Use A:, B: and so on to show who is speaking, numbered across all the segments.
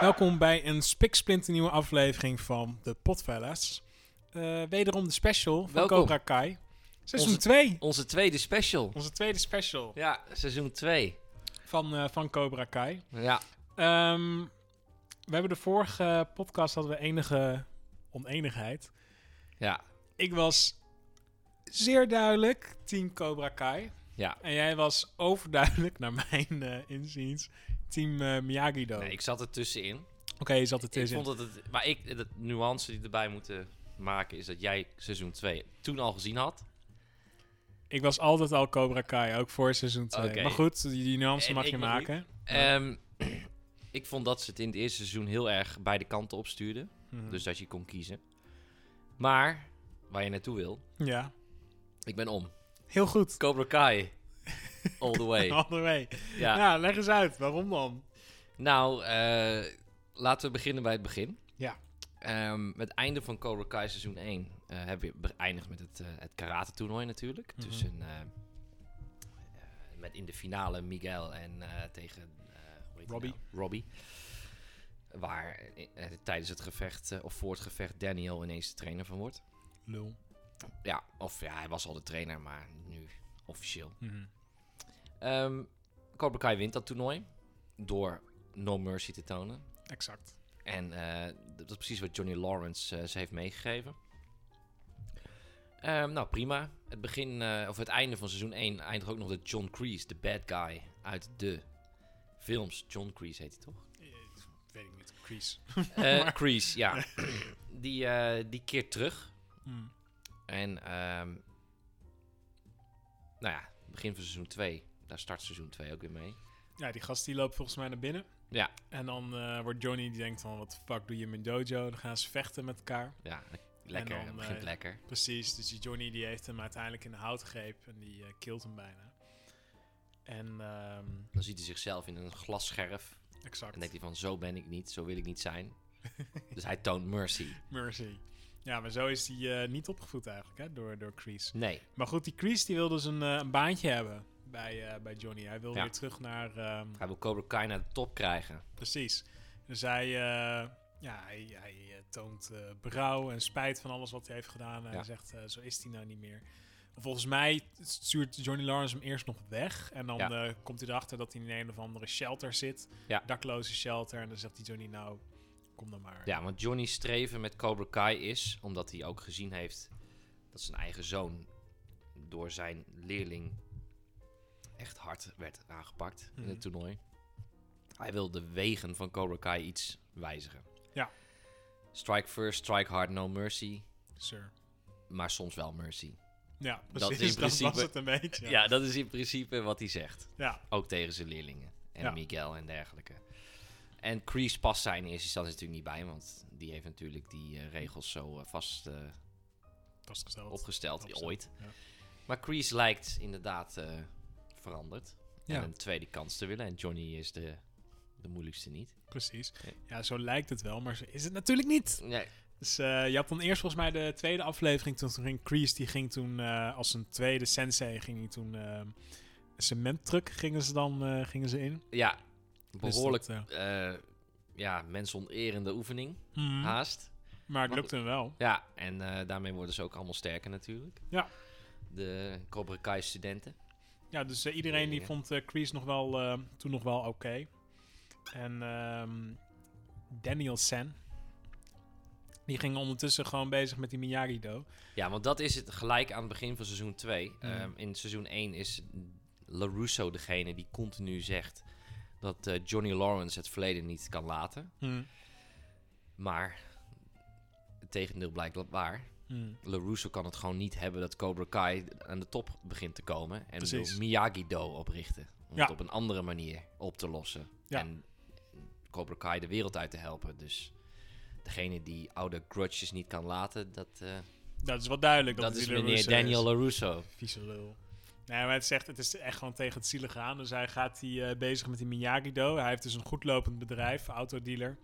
A: Welkom bij een spiksplinternieuwe aflevering van de Potfellas. Eh, wederom de special van
B: Welkom.
A: Cobra Kai. Seizoen
B: Onze-
A: 2.
B: Onze tweede special.
A: Onze tweede special
B: Ja, seizoen 2.
A: van, eh, van Cobra Kai.
B: Ja,
A: Ehm, we hebben de vorige podcast hadden we enige oneenigheid.
B: ja,
A: Ik was zeer duidelijk team Cobra Kai.
B: ja.
A: En jij was overduidelijk, naar mijn eh inziens, team eh, Miyagi-Do.
B: Nee, ik zat er tussenin.
A: Oké, je zat er
B: Ik
A: tussenin.
B: vond dat het... Maar ik, de nuance die erbij moeten maken is dat jij seizoen 2 toen al gezien had.
A: Ik was altijd al Cobra Kai, ook voor seizoen 2.
B: Oké.
A: Maar goed, die, die nuance
B: En
A: mag
B: ik
A: je
B: nog
A: maken.
B: Ehm, ik vond dat ze het in het eerste seizoen heel erg beide kanten opstuurden.
A: Mhm.
B: Dus dat je kon kiezen. Maar, waar je naartoe wil,
A: Ja,
B: ik ben om.
A: heel goed.
B: Cobra Kai. All the way.
A: All the way.
B: Ja.
A: Ja. leg eens uit. Waarom dan?
B: Nou, eh, laten we beginnen bij het begin.
A: Ja.
B: Ehm, met het einde van Cobra Kai seizoen 1 eh heb je beëindigd met het, eh, het karate toernooi natuurlijk.
A: Mhm.
B: Tussen, eh, eh, met in de finale Miguel en eh, tegen eh, hoe heet hij
A: Robbie.
B: nou? Robbie. Waar eh, eh, tijdens het gevecht, eh, of voor het gevecht, Daniel ineens de trainer van wordt.
A: Lul.
B: Ja, of ja, hij was al de trainer, maar nu officieel.
A: Mhm.
B: Ehm Cobra Kai wint dat toernooi door No Mercy te tonen.
A: Exact.
B: En eh, dat is precies wat Johnny Lawrence eh, ze heeft meegegeven. Ehm, nou, prima. Het begin, eh, of het einde van seizoen 1 eindigt ook nog dat John Kreese, de bad guy uit de films. John Kreese heet hij toch?
A: Eh, Weet ik niet. Crease.
B: Eh Kreese, ja. die, eh, die keert terug.
A: Mm.
B: En, ehm, nou ja, begin van seizoen 2. Daar start seizoen 2 ook weer mee.
A: Ja, die gast die loopt volgens mij naar binnen.
B: Ja.
A: En dan eh, wordt Johnny die denkt van, wat fuck doe je met Dojo? Dan gaan ze vechten met elkaar.
B: Ja, lekker.
A: dan,
B: het begint
A: eh,
B: lekker.
A: Precies, dus die Johnny die heeft hem uiteindelijk in de houtgreep en die eh kilt hem bijna. En ehm,
B: Dan ziet hij zichzelf in een glasscherf
A: exact.
B: En denkt hij van, zo ben ik niet, zo wil ik niet zijn. dus hij toont mercy.
A: Mercy. Ja, maar zo is hij eh, niet opgevoed eigenlijk, hè, door, door Crease.
B: Nee,
A: Maar goed, die Crease die wil dus een, eh, een baantje hebben bij, eh, bij Johnny. Hij wil
B: Ja.
A: weer terug naar... ehm,
B: hij wil Cobra Kai naar de top krijgen.
A: Precies. Dus hij, eh, ja, hij, hij eh, toont eh berouw en spijt van alles wat hij heeft gedaan. En
B: Ja.
A: hij zegt, eh, zo is hij nou niet meer. Volgens mij stuurt Johnny Lawrence hem eerst nog weg. En dan
B: Ja.
A: eh, komt hij erachter dat hij in een of andere shelter zit.
B: Ja.
A: Dakloze shelter. En dan zegt hij Johnny, nou, kom dan maar.
B: Ja, want Johnny's streven met Cobra Kai is, omdat hij ook gezien heeft dat zijn eigen zoon door zijn leerling echt hard werd aangepakt in
A: Mhm.
B: het toernooi. Hij wil de wegen van Cobra Kai iets wijzigen.
A: Ja.
B: Strike first, strike hard, no mercy.
A: Sir.
B: Maar soms wel mercy.
A: Ja,
B: Dat
A: precies.
B: in
A: Dat,
B: principe-
A: was het een beetje.
B: ja dat is in principe wat hij zegt.
A: ja.
B: Ook tegen zijn leerlingen. En
A: Ja.
B: Miguel en dergelijke. En Crease past zijn in eerste instantie natuurlijk niet bij, want die heeft natuurlijk die eh, regels zo eh, vast eh,
A: vastgesteld.
B: opgesteld,
A: opgesteld,
B: ooit.
A: ja.
B: Maar Crease lijkt inderdaad eh, veranderd. En
A: Ja.
B: een tweede kans te willen. En Johnny is de, de moeilijkste niet.
A: Precies.
B: Ja.
A: Ja, zo lijkt het wel, maar zo is het natuurlijk niet.
B: Nee,
A: Dus eh, je had dan eerst volgens mij de tweede aflevering. Toen ging Kreese, die ging toen eh, als een tweede sensei, ging hij toen eh, een cementtruck gingen ze dan eh, gingen ze in.
B: ja,
A: Dus
B: behoorlijk
A: dat,
B: eh ja, mensonterende oefening.
A: eh, mhm.
B: Haast.
A: Maar het lukte hem wel.
B: Ja, en eh, daarmee worden ze ook allemaal sterker natuurlijk.
A: Ja.
B: De Cobra Kai studenten.
A: Ja, dus eh, iedereen die
B: Ja.
A: vond eh Kreese nog wel, eh, toen nog wel oké. En ehm, Daniel Sen, die ging ondertussen gewoon bezig met die Miyagi-Do.
B: Ja, want dat is het gelijk aan het begin van seizoen 2.
A: Mhm.
B: in seizoen 1 is LaRusso degene die continu zegt dat eh, Johnny Lawrence het verleden niet kan laten.
A: Mhm.
B: Maar het tegendeel blijkt waar.
A: Mhm.
B: LaRusso kan het gewoon niet hebben dat Cobra Kai aan de top begint te komen. En wil
A: Precies.
B: Miyagi-Do oprichten. Om
A: Ja.
B: het op een andere manier op te lossen.
A: Ja.
B: En Cobra Kai de wereld uit te helpen. Dus degene die oude grudges niet kan laten, dat, eh,
A: Dat is wel duidelijk.
B: dat,
A: Dat, het
B: is
A: die
B: meneer
A: Russen is.
B: Daniel LaRusso.
A: Vieze lul. Nee, maar het zegt, het is echt gewoon tegen het zielig aan. Dus hij gaat die, eh, bezig met die Miyagi-Do. Hij heeft dus een goedlopend bedrijf, autodealer.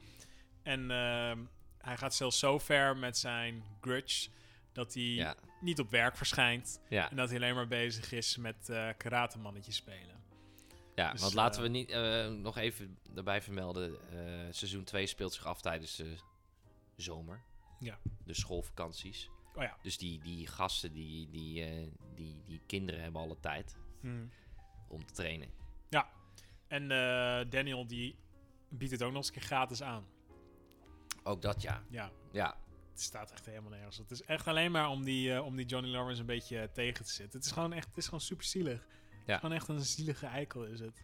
A: En ehm, hij gaat zelfs zo ver met zijn grudge dat hij
B: Ja,
A: niet op werk verschijnt.
B: ja.
A: En dat hij alleen maar bezig is met eh karate mannetje spelen.
B: Ja,
A: Dus,
B: want laten
A: eh,
B: we niet eh, nog even daarbij vermelden. eh, seizoen 2 speelt zich af tijdens de zomer.
A: Ja.
B: De schoolvakanties.
A: Oh ja.
B: Dus die, die gasten, die, die, eh, die, die kinderen hebben alle tijd
A: Hmm.
B: om te trainen.
A: En eh, Daniel die biedt het ook nog eens een keer gratis aan.
B: Ook dat ja.
A: Ja,
B: Ja,
A: het staat echt helemaal nergens. op. Het is echt alleen maar om die, eh, om die Johnny Lawrence een beetje eh, tegen te zitten. Het is gewoon echt, het is gewoon super zielig. Het is gewoon echt een zielige eikel is het.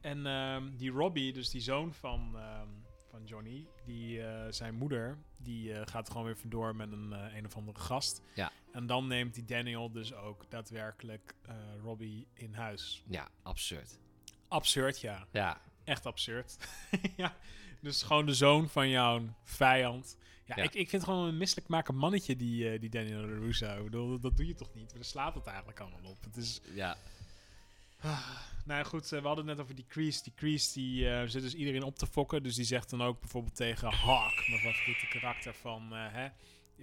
A: en ehm, die Robbie, dus die zoon van, ehm, van Johnny, die, eh, zijn moeder, die eh, gaat gewoon weer vandoor met een, eh, een of andere gast.
B: Ja.
A: En dan neemt die Daniel dus ook daadwerkelijk eh, Robbie in huis.
B: ja, absurd.
A: Absurd, ja.
B: Ja,
A: Echt absurd. ja. Dus gewoon de zoon van jouw vijand. Ja,
B: Ja.
A: Ik, ik vind gewoon een misselijk maken mannetje, die, eh, die Daniel LaRusso. Ik bedoel, dat, dat doe je toch niet? Daar slaat het eigenlijk allemaal op. Het is...
B: ja,
A: Nou ja, goed, eh, we hadden het net over die Crease. Die Crease die, eh, zit dus iedereen op te fokken. Dus die zegt dan ook bijvoorbeeld tegen Hawk, mijn favoriete karakter, van... eh, hè,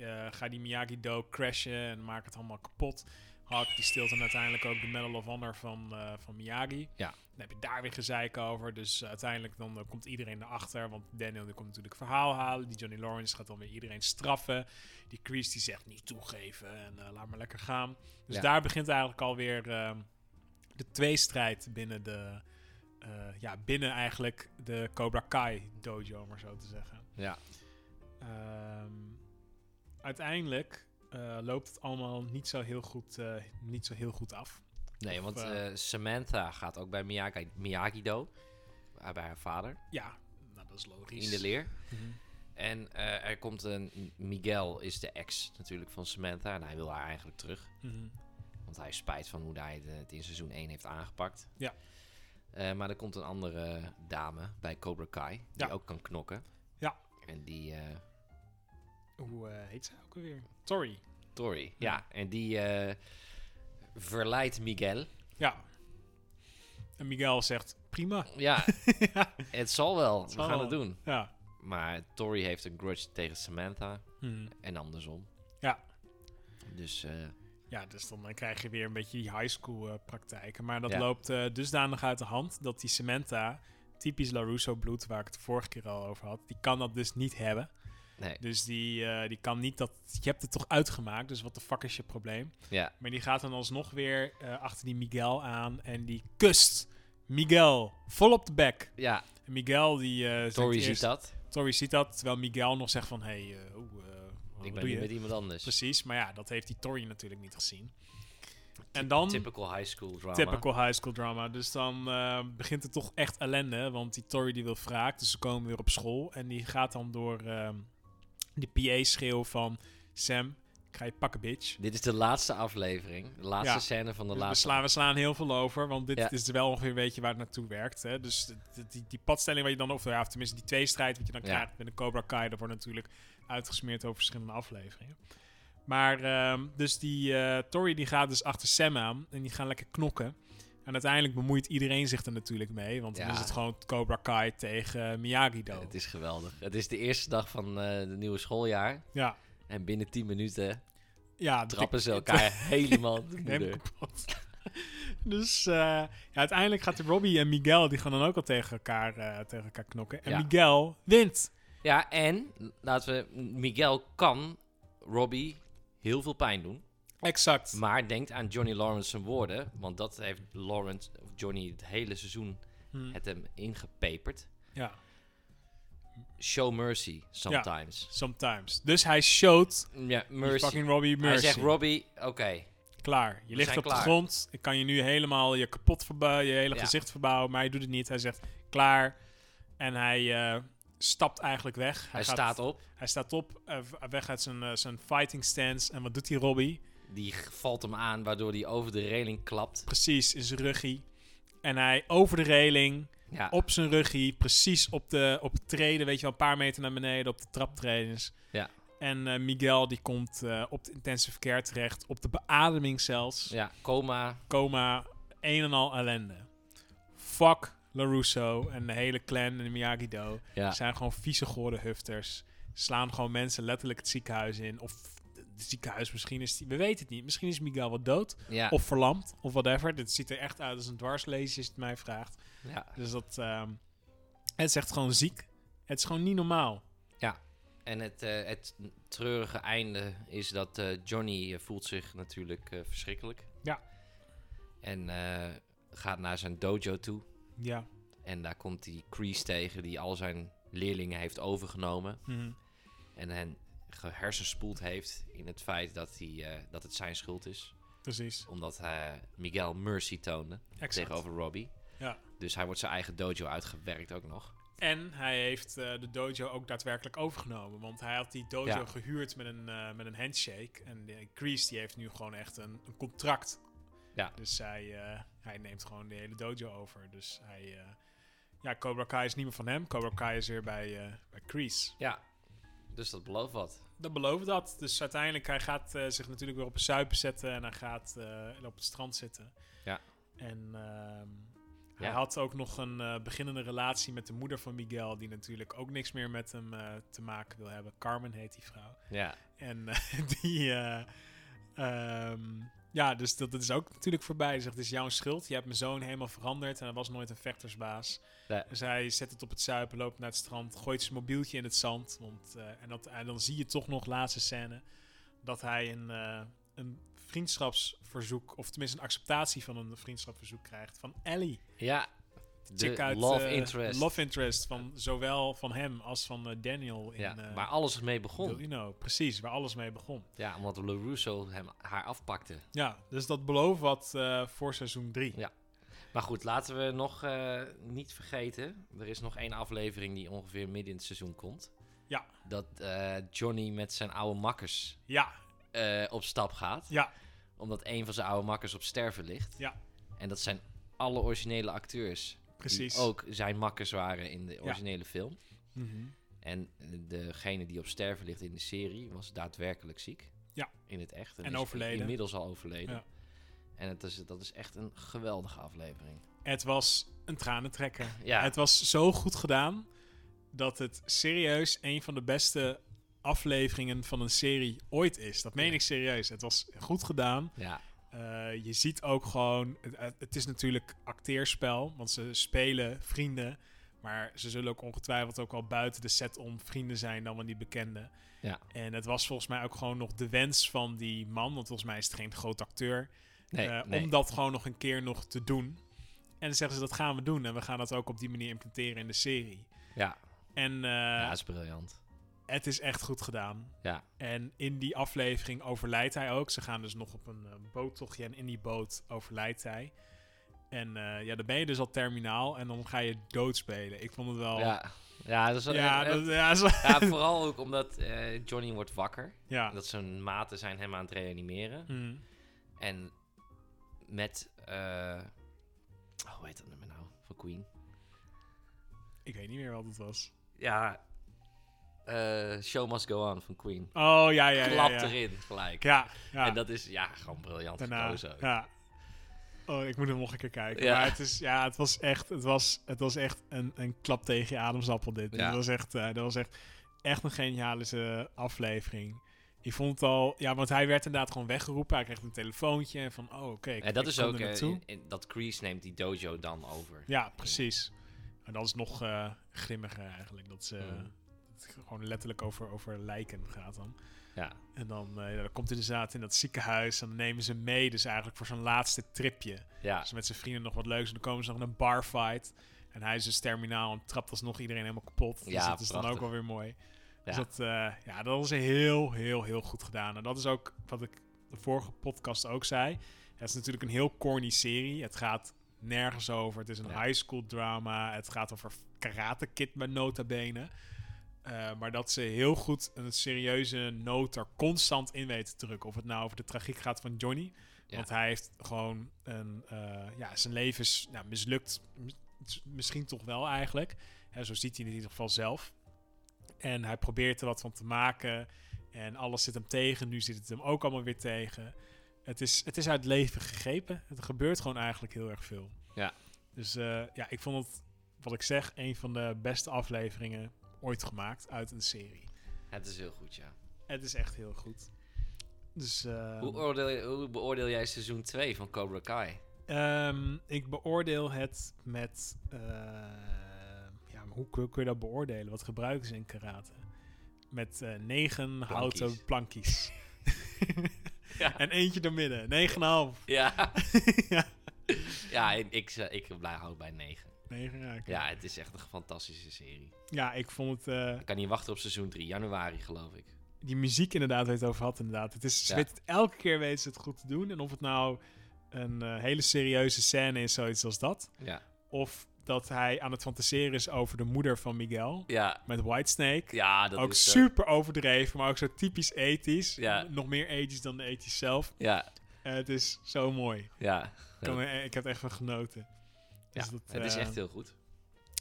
A: eh, ga die Miyagi-Do crashen en maak het allemaal kapot. Hawk die steelt dan uiteindelijk ook de Medal of Honor van, eh, van Miyagi.
B: Ja.
A: Dan heb je daar weer gezeik over. Dus eh, uiteindelijk dan, eh, komt iedereen erachter. Want Daniel die komt natuurlijk verhaal halen. Die Johnny Lawrence gaat dan weer iedereen straffen. Die Crease die zegt niet toegeven en eh, laat maar lekker gaan. Dus
B: Ja.
A: daar begint eigenlijk alweer... ehm, de tweestrijd binnen de. eh, ja, binnen eigenlijk de Cobra Kai dojo, om maar zo te zeggen.
B: ja.
A: Ehm, uiteindelijk eh, loopt het allemaal niet zo heel goed, eh, niet zo heel goed af.
B: Nee,
A: Of,
B: want
A: eh,
B: eh, Samantha gaat ook bij Miyagi- Miyagi-Do. eh, bij haar vader.
A: Ja, nou, dat is logisch.
B: In de leer.
A: Mhm.
B: En eh, er komt een... Miguel is de ex natuurlijk van Samantha. En hij wil haar eigenlijk terug.
A: Mhm.
B: Want hij heeft spijt van hoe hij de- het in seizoen 1 heeft aangepakt.
A: Ja.
B: Eh, maar er komt een andere dame bij Cobra Kai. Die
A: Ja.
B: ook kan knokken.
A: Ja.
B: En die... eh,
A: Hoe eh, heet zij ook alweer? Tori.
B: Tori. Ja. En die eh, verleidt Miguel.
A: Ja. En Miguel zegt: prima.
B: Ja. het zal wel.
A: Het
B: We
A: zal
B: gaan
A: wel.
B: het doen.
A: Ja.
B: Maar Tori heeft een grudge tegen Samantha.
A: Mhm.
B: En andersom.
A: Ja.
B: Dus eh,
A: Ja, dus dan eh, krijg je weer een beetje die high school eh, praktijken. Maar dat
B: Ja.
A: loopt eh, dusdanig uit de hand dat die Samantha, typisch LaRusso bloed, waar ik het vorige keer al over had, die kan dat dus niet hebben.
B: nee.
A: Dus die, eh, die kan niet dat. Je hebt het toch uitgemaakt, dus wat de fuck is je probleem?
B: Ja.
A: Maar die gaat dan alsnog weer eh, achter die Miguel aan en die kust Miguel vol op de bek.
B: Ja,
A: En Miguel die. eh zegt
B: Tori ziet
A: eerst-
B: dat.
A: Tori ziet dat, terwijl Miguel nog zegt van hé, hey, eh, oeh, eh, wat doe
B: Ik ben niet
A: je? Dus
B: met iemand anders.
A: Precies, maar ja, dat heeft die Tori natuurlijk niet gezien. En dan
B: Typical high school drama.
A: typical high school drama. Dus dan eh, begint het toch echt ellende, want die Tori die wil wraak, dus ze komen weer op school en die gaat dan door ehm die PA schreeuw van Sam, ik ga je pakken bitch.
B: Dit is de laatste aflevering. De laatste
A: Ja.
B: scène van de
A: Dus we,
B: laatste.
A: slaan, we slaan heel veel over, want dit
B: Ja.
A: is wel ongeveer een beetje waar het naartoe werkt. Hè? Dus die, die, die padstelling waar je dan, of, ja, of tenminste die tweestrijd wat je dan
B: Ja.
A: krijgt binnen Cobra Kai, dat wordt natuurlijk uitgesmeerd over verschillende afleveringen. Maar ehm, dus die eh, Tori die gaat dus achter Sam aan en die gaan lekker knokken. En uiteindelijk bemoeit iedereen zich er natuurlijk mee, want dan
B: Ja.
A: is het gewoon Cobra Kai tegen eh, Miyagi-Do.
B: Het is geweldig. Het is de eerste dag van eh het nieuwe schooljaar.
A: Ja,
B: En binnen 10 minuten
A: ja
B: trappen ze elkaar helemaal de
A: Neem
B: moeder.
A: kapot. dus eh, ja, uiteindelijk gaat Robbie en Miguel, die gaan dan ook al tegen elkaar, eh, tegen elkaar knokken. En
B: Ja.
A: Miguel wint.
B: Ja, en laten we. Miguel kan Robbie heel veel pijn doen.
A: Exact.
B: Maar denkt aan Johnny Lawrence zijn woorden. Want dat heeft Lawrence, of Johnny, het hele seizoen
A: Hm,
B: het hem ingepeperd.
A: Ja,
B: Show mercy sometimes.
A: sometimes. Dus hij showt
B: Ja,
A: die
B: mercy.
A: fucking Robbie mercy.
B: Hij zegt Robbie, oké.
A: klaar. Je ligt
B: zijn
A: op de
B: klaar.
A: grond. Ik kan je nu helemaal je kapot verbouwen, je hele
B: Ja.
A: gezicht verbouwen. Maar hij doet het niet. Hij zegt klaar. En hij eh, stapt eigenlijk weg.
B: Hij
A: gaat-
B: staat op.
A: Hij staat op, eh, weg uit zijn, eh, zijn fighting stance. En wat doet die Robbie?
B: Die g- valt hem aan, waardoor hij over de reling klapt.
A: precies in zijn ruggie. En hij over de reling,
B: Ja,
A: op zijn ruggie, precies op de, op de treden, weet je wel, een paar meter naar beneden, op de traptredens.
B: Ja.
A: En eh, Miguel die komt eh, op de intensive care terecht, op de beademing zelfs.
B: ja coma.
A: Coma, een en al ellende. Fuck LaRusso en de hele clan en de Miyagi-Do.
B: Ja.
A: Zijn gewoon vieze gore hufters. Slaan gewoon mensen letterlijk het ziekenhuis in. Of het ziekenhuis. Misschien is die, we weten het niet. Misschien is Miguel wel dood.
B: Ja,
A: Of verlamd. Of whatever. Dit ziet er echt uit als een dwarslees, als je het mij vraagt.
B: ja.
A: Dus dat. ehm, het is echt gewoon ziek. Het is gewoon niet normaal.
B: En het, eh, het treurige einde is dat eh, Johnny eh, voelt zich natuurlijk eh, verschrikkelijk.
A: Ja.
B: En eh, gaat naar zijn dojo toe.
A: Ja.
B: En daar komt die Crease tegen die al zijn leerlingen heeft overgenomen.
A: Mhm.
B: En hen gehersenspoeld heeft in het feit dat, hij, eh, dat het zijn schuld is.
A: Precies.
B: Omdat eh, Miguel mercy toonde
A: Exact.
B: tegenover Robbie.
A: Ja.
B: Dus hij wordt zijn eigen dojo uitgewerkt ook nog.
A: En hij heeft eh, de dojo ook daadwerkelijk overgenomen. Want hij had die dojo
B: Ja.
A: gehuurd met een, eh, met een handshake. En de Crease die heeft nu gewoon echt een, een contract.
B: Ja.
A: Dus hij, eh, hij neemt gewoon de hele dojo over. Dus hij... eh, ja, Cobra Kai is niet meer van hem. Cobra Kai is weer bij, eh bij Crease.
B: Ja, dus dat belooft wat.
A: Dat belooft dat. Dus uiteindelijk, hij gaat eh, zich natuurlijk weer op een suipen zetten. En hij gaat eh, op het strand zitten.
B: Ja.
A: En ehm, hij
B: Ja.
A: had ook nog een eh, beginnende relatie met de moeder van Miguel. Die natuurlijk ook niks meer met hem eh, te maken wil hebben. Carmen heet die vrouw.
B: Ja,
A: En eh, die... eh, ehm, ja, dus dat, dat is ook natuurlijk voorbij. Hij Zegt, het is jouw schuld. Je hebt mijn zoon helemaal veranderd. En hij was nooit een vechtersbaas.
B: Nee.
A: Dus hij zet het op het zuipen, loopt naar het strand, gooit zijn mobieltje in het zand. Want, eh, en, dat, en dan zie je toch nog, laatste scène, dat hij een, eh, een vriendschapsverzoek... of tenminste een acceptatie van een vriendschapsverzoek krijgt van Ellie.
B: ja.
A: Chick
B: De love
A: eh,
B: interest.
A: Love interest van zowel van hem als van eh, Daniel in...
B: ja,
A: eh,
B: waar alles mee
A: Del
B: begon.
A: Reno. Precies, waar alles mee begon.
B: Ja, omdat LaRusso hem, haar afpakte.
A: Ja, dus dat belooft wat eh, voor seizoen 3.
B: Ja. Maar goed, laten we nog eh, niet vergeten. Er is nog één aflevering die ongeveer midden in het seizoen komt.
A: Ja.
B: Dat eh, Johnny met zijn oude makkers
A: Ja,
B: eh, op stap gaat.
A: ja,
B: Omdat een van zijn oude makkers op sterven ligt.
A: Ja.
B: En dat zijn alle originele acteurs.
A: precies.
B: Die ook zijn makkers waren in de originele film.
A: Mhm.
B: En eh, degene die op sterven ligt in de serie was daadwerkelijk ziek.
A: Ja.
B: In het echt.
A: En
B: is
A: overleden.
B: Inmiddels al overleden.
A: Ja.
B: En het is, dat is echt een geweldige aflevering.
A: Het was een tranentrekker.
B: Ja.
A: Het was zo goed gedaan dat het serieus een van de beste afleveringen van een serie ooit is. Dat meen
B: Ja.
A: ik serieus. Het was goed gedaan.
B: Ja.
A: Eh, je ziet ook gewoon, het, het- het is natuurlijk acteerspel, want ze spelen vrienden. Maar ze zullen ook ongetwijfeld ook wel buiten de set om vrienden zijn dan wel die bekenden.
B: Ja.
A: En het was volgens mij ook gewoon nog de wens van die man, want volgens mij is het geen groot acteur.
B: Nee,
A: Eh,
B: nee.
A: Om dat gewoon nog een keer nog te doen. En dan zeggen ze, dat gaan we doen. En we gaan dat ook op die manier implementeren in de serie.
B: Ja,
A: En eh,
B: ja, dat is briljant.
A: het is echt goed gedaan.
B: Ja.
A: En in die aflevering overlijdt hij ook. Ze gaan dus nog op een eh, boottochtje en in die boot overlijdt hij. En eh, ja, dan ben je dus al terminaal en dan ga je doodspelen. Ik vond het wel...
B: Ja, ja, dat is wel-
A: Oh. ja,
B: eh, eh,
A: dat, ja, zo-
B: ja, vooral ook omdat eh, Johnny wordt wakker.
A: ja.
B: Dat zijn maten zijn hem aan het reanimeren.
A: Mm.
B: En met... eh, oh, hoe heet dat nummer nou? Van Queen.
A: Ik weet niet meer wat het was.
B: Ja, eh, Show Must Go On van Queen.
A: Oh, ja, ja, ja.
B: Klap
A: ja.
B: erin gelijk.
A: Ja, ja.
B: En dat is ja, gewoon briljant
A: daarna.
B: gekozen ook.
A: Ja. Oh, ik moet hem nog een keer kijken.
B: oh, Ja.
A: Maar het, is, ja, het was echt, het was, het was echt een, een klap tegen je ademsappel dit.
B: Ja.
A: Dat was echt, eh, dat was echt, echt een geniale eh, aflevering. Ik vond het al... Ja, want hij werd inderdaad gewoon weggeroepen. Hij kreeg een telefoontje en van... Oh, oké, ik-
B: En dat
A: ik
B: is
A: kom
B: ook
A: er
B: eh,
A: naartoe.
B: in- in- dat Crease neemt die dojo dan over.
A: Ja, precies. En dat is nog eh, grimmiger eigenlijk. Dat ze
B: Mm.
A: dat het gewoon letterlijk over, over lijken gaat dan.
B: Ja.
A: En dan, eh, ja, dan komt hij dus inderdaad in dat ziekenhuis. En dan nemen ze hem mee dus eigenlijk voor zijn laatste tripje.
B: Ja,
A: Dus met zijn vrienden nog wat leuks. En dan komen ze nog in een barfight. En hij is dus terminaal en trapt alsnog iedereen helemaal kapot. Dus
B: Ja,
A: dat is dan
B: prachtig.
A: ook wel weer mooi. Dus
B: Ja.
A: dat, eh, ja, dat is heel, heel, heel goed gedaan. En dat is ook wat ik de vorige podcast ook zei. Het is natuurlijk een heel corny serie. Het gaat nergens over. Het is een
B: Ja.
A: high school drama. Het gaat over Karate Kid met nota bene. Eh, maar dat ze heel goed een serieuze noot er constant in weten te drukken. Of het nou over de tragiek gaat van Johnny.
B: Ja.
A: Want hij heeft gewoon een... eh, ja, zijn leven is nou, mislukt. mis- Misschien toch wel eigenlijk. Hè, zo ziet hij het in ieder geval zelf. En hij probeert er wat van te maken. En alles zit hem tegen. Nu zit het hem ook allemaal weer tegen. Het is, het is uit het leven gegrepen. Het gebeurt gewoon eigenlijk heel erg veel.
B: Ja.
A: Dus eh, ja, ik vond het, wat ik zeg, een van de beste afleveringen ooit gemaakt uit een serie.
B: het is heel goed, ja.
A: Het is echt heel goed. Dus, eh,
B: Hoe, oordeel je- hoe beoordeel jij seizoen 2 van Cobra Kai?
A: Ehm, ik beoordeel het met. eh, ja, maar hoe kun, kun je dat beoordelen? Wat gebruiken ze in karate? Met eh, negen houten plankies.
B: Ja.
A: En eentje door midden. Negen en een half.
B: Ja,
A: ja.
B: ja en ik, zou- ik blij houden bij 9.
A: Negen raken.
B: Ja, het is echt een fantastische serie.
A: Ja, ik vond het. eh,
B: Ik kan niet wachten op seizoen 3, januari geloof ik.
A: die muziek inderdaad, waar je het over had inderdaad. Het is, ze
B: Ja.
A: weten het- elke keer weten ze het goed te doen. En of het nou een eh, hele serieuze scène is, zoiets als dat.
B: Ja,
A: Of dat hij aan het fantaseren is over de moeder van Miguel.
B: ja,
A: Met Whitesnake.
B: ja dat
A: ook
B: is... eh,
A: super overdreven, maar ook zo typisch ethisch.
B: Ja.
A: Nog meer ethisch dan de ethisch zelf.
B: ja,
A: Eh, het is zo mooi. Ik,
B: ja,
A: kan er- ik heb er echt van genoten.
B: ja.
A: Dus dat,
B: het is
A: eh,
B: echt heel goed.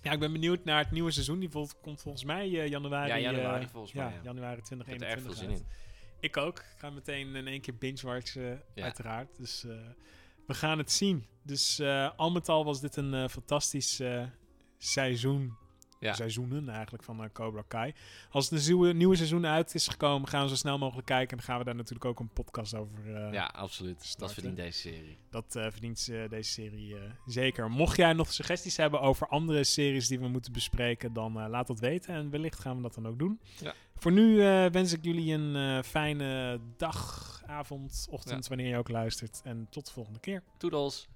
A: Ja, ik ben benieuwd naar het nieuwe seizoen. Die vol- komt volgens mij eh, januari.
B: Ja, januari
A: eh,
B: volgens
A: ja,
B: mij, ja.
A: januari
B: Ik heb er erg
A: 2021.
B: veel zin
A: uit.
B: in.
A: Ik ook. Ik ga meteen in één keer binge-watchen,
B: Ja.
A: uiteraard. Dus eh, we gaan het zien. Dus eh, al met al was dit een eh, fantastisch eh, seizoen.
B: Ja.
A: Seizoenen eigenlijk van eh, Cobra Kai. Als het een nieuwe, nieuwe seizoen uit is gekomen, gaan we zo snel mogelijk kijken. En dan gaan we daar natuurlijk ook een podcast over. eh,
B: Ja, absoluut. Dat
A: starten.
B: verdient deze serie.
A: Dat eh, verdient eh, deze serie eh, zeker. Mocht jij nog suggesties hebben over andere series die we moeten bespreken, dan eh, laat dat weten. En wellicht gaan we dat dan ook doen.
B: Ja.
A: Voor nu eh, wens ik jullie een eh, fijne dag, avond, ochtend, wanneer je ook luistert. En tot de volgende keer.
B: Toedels.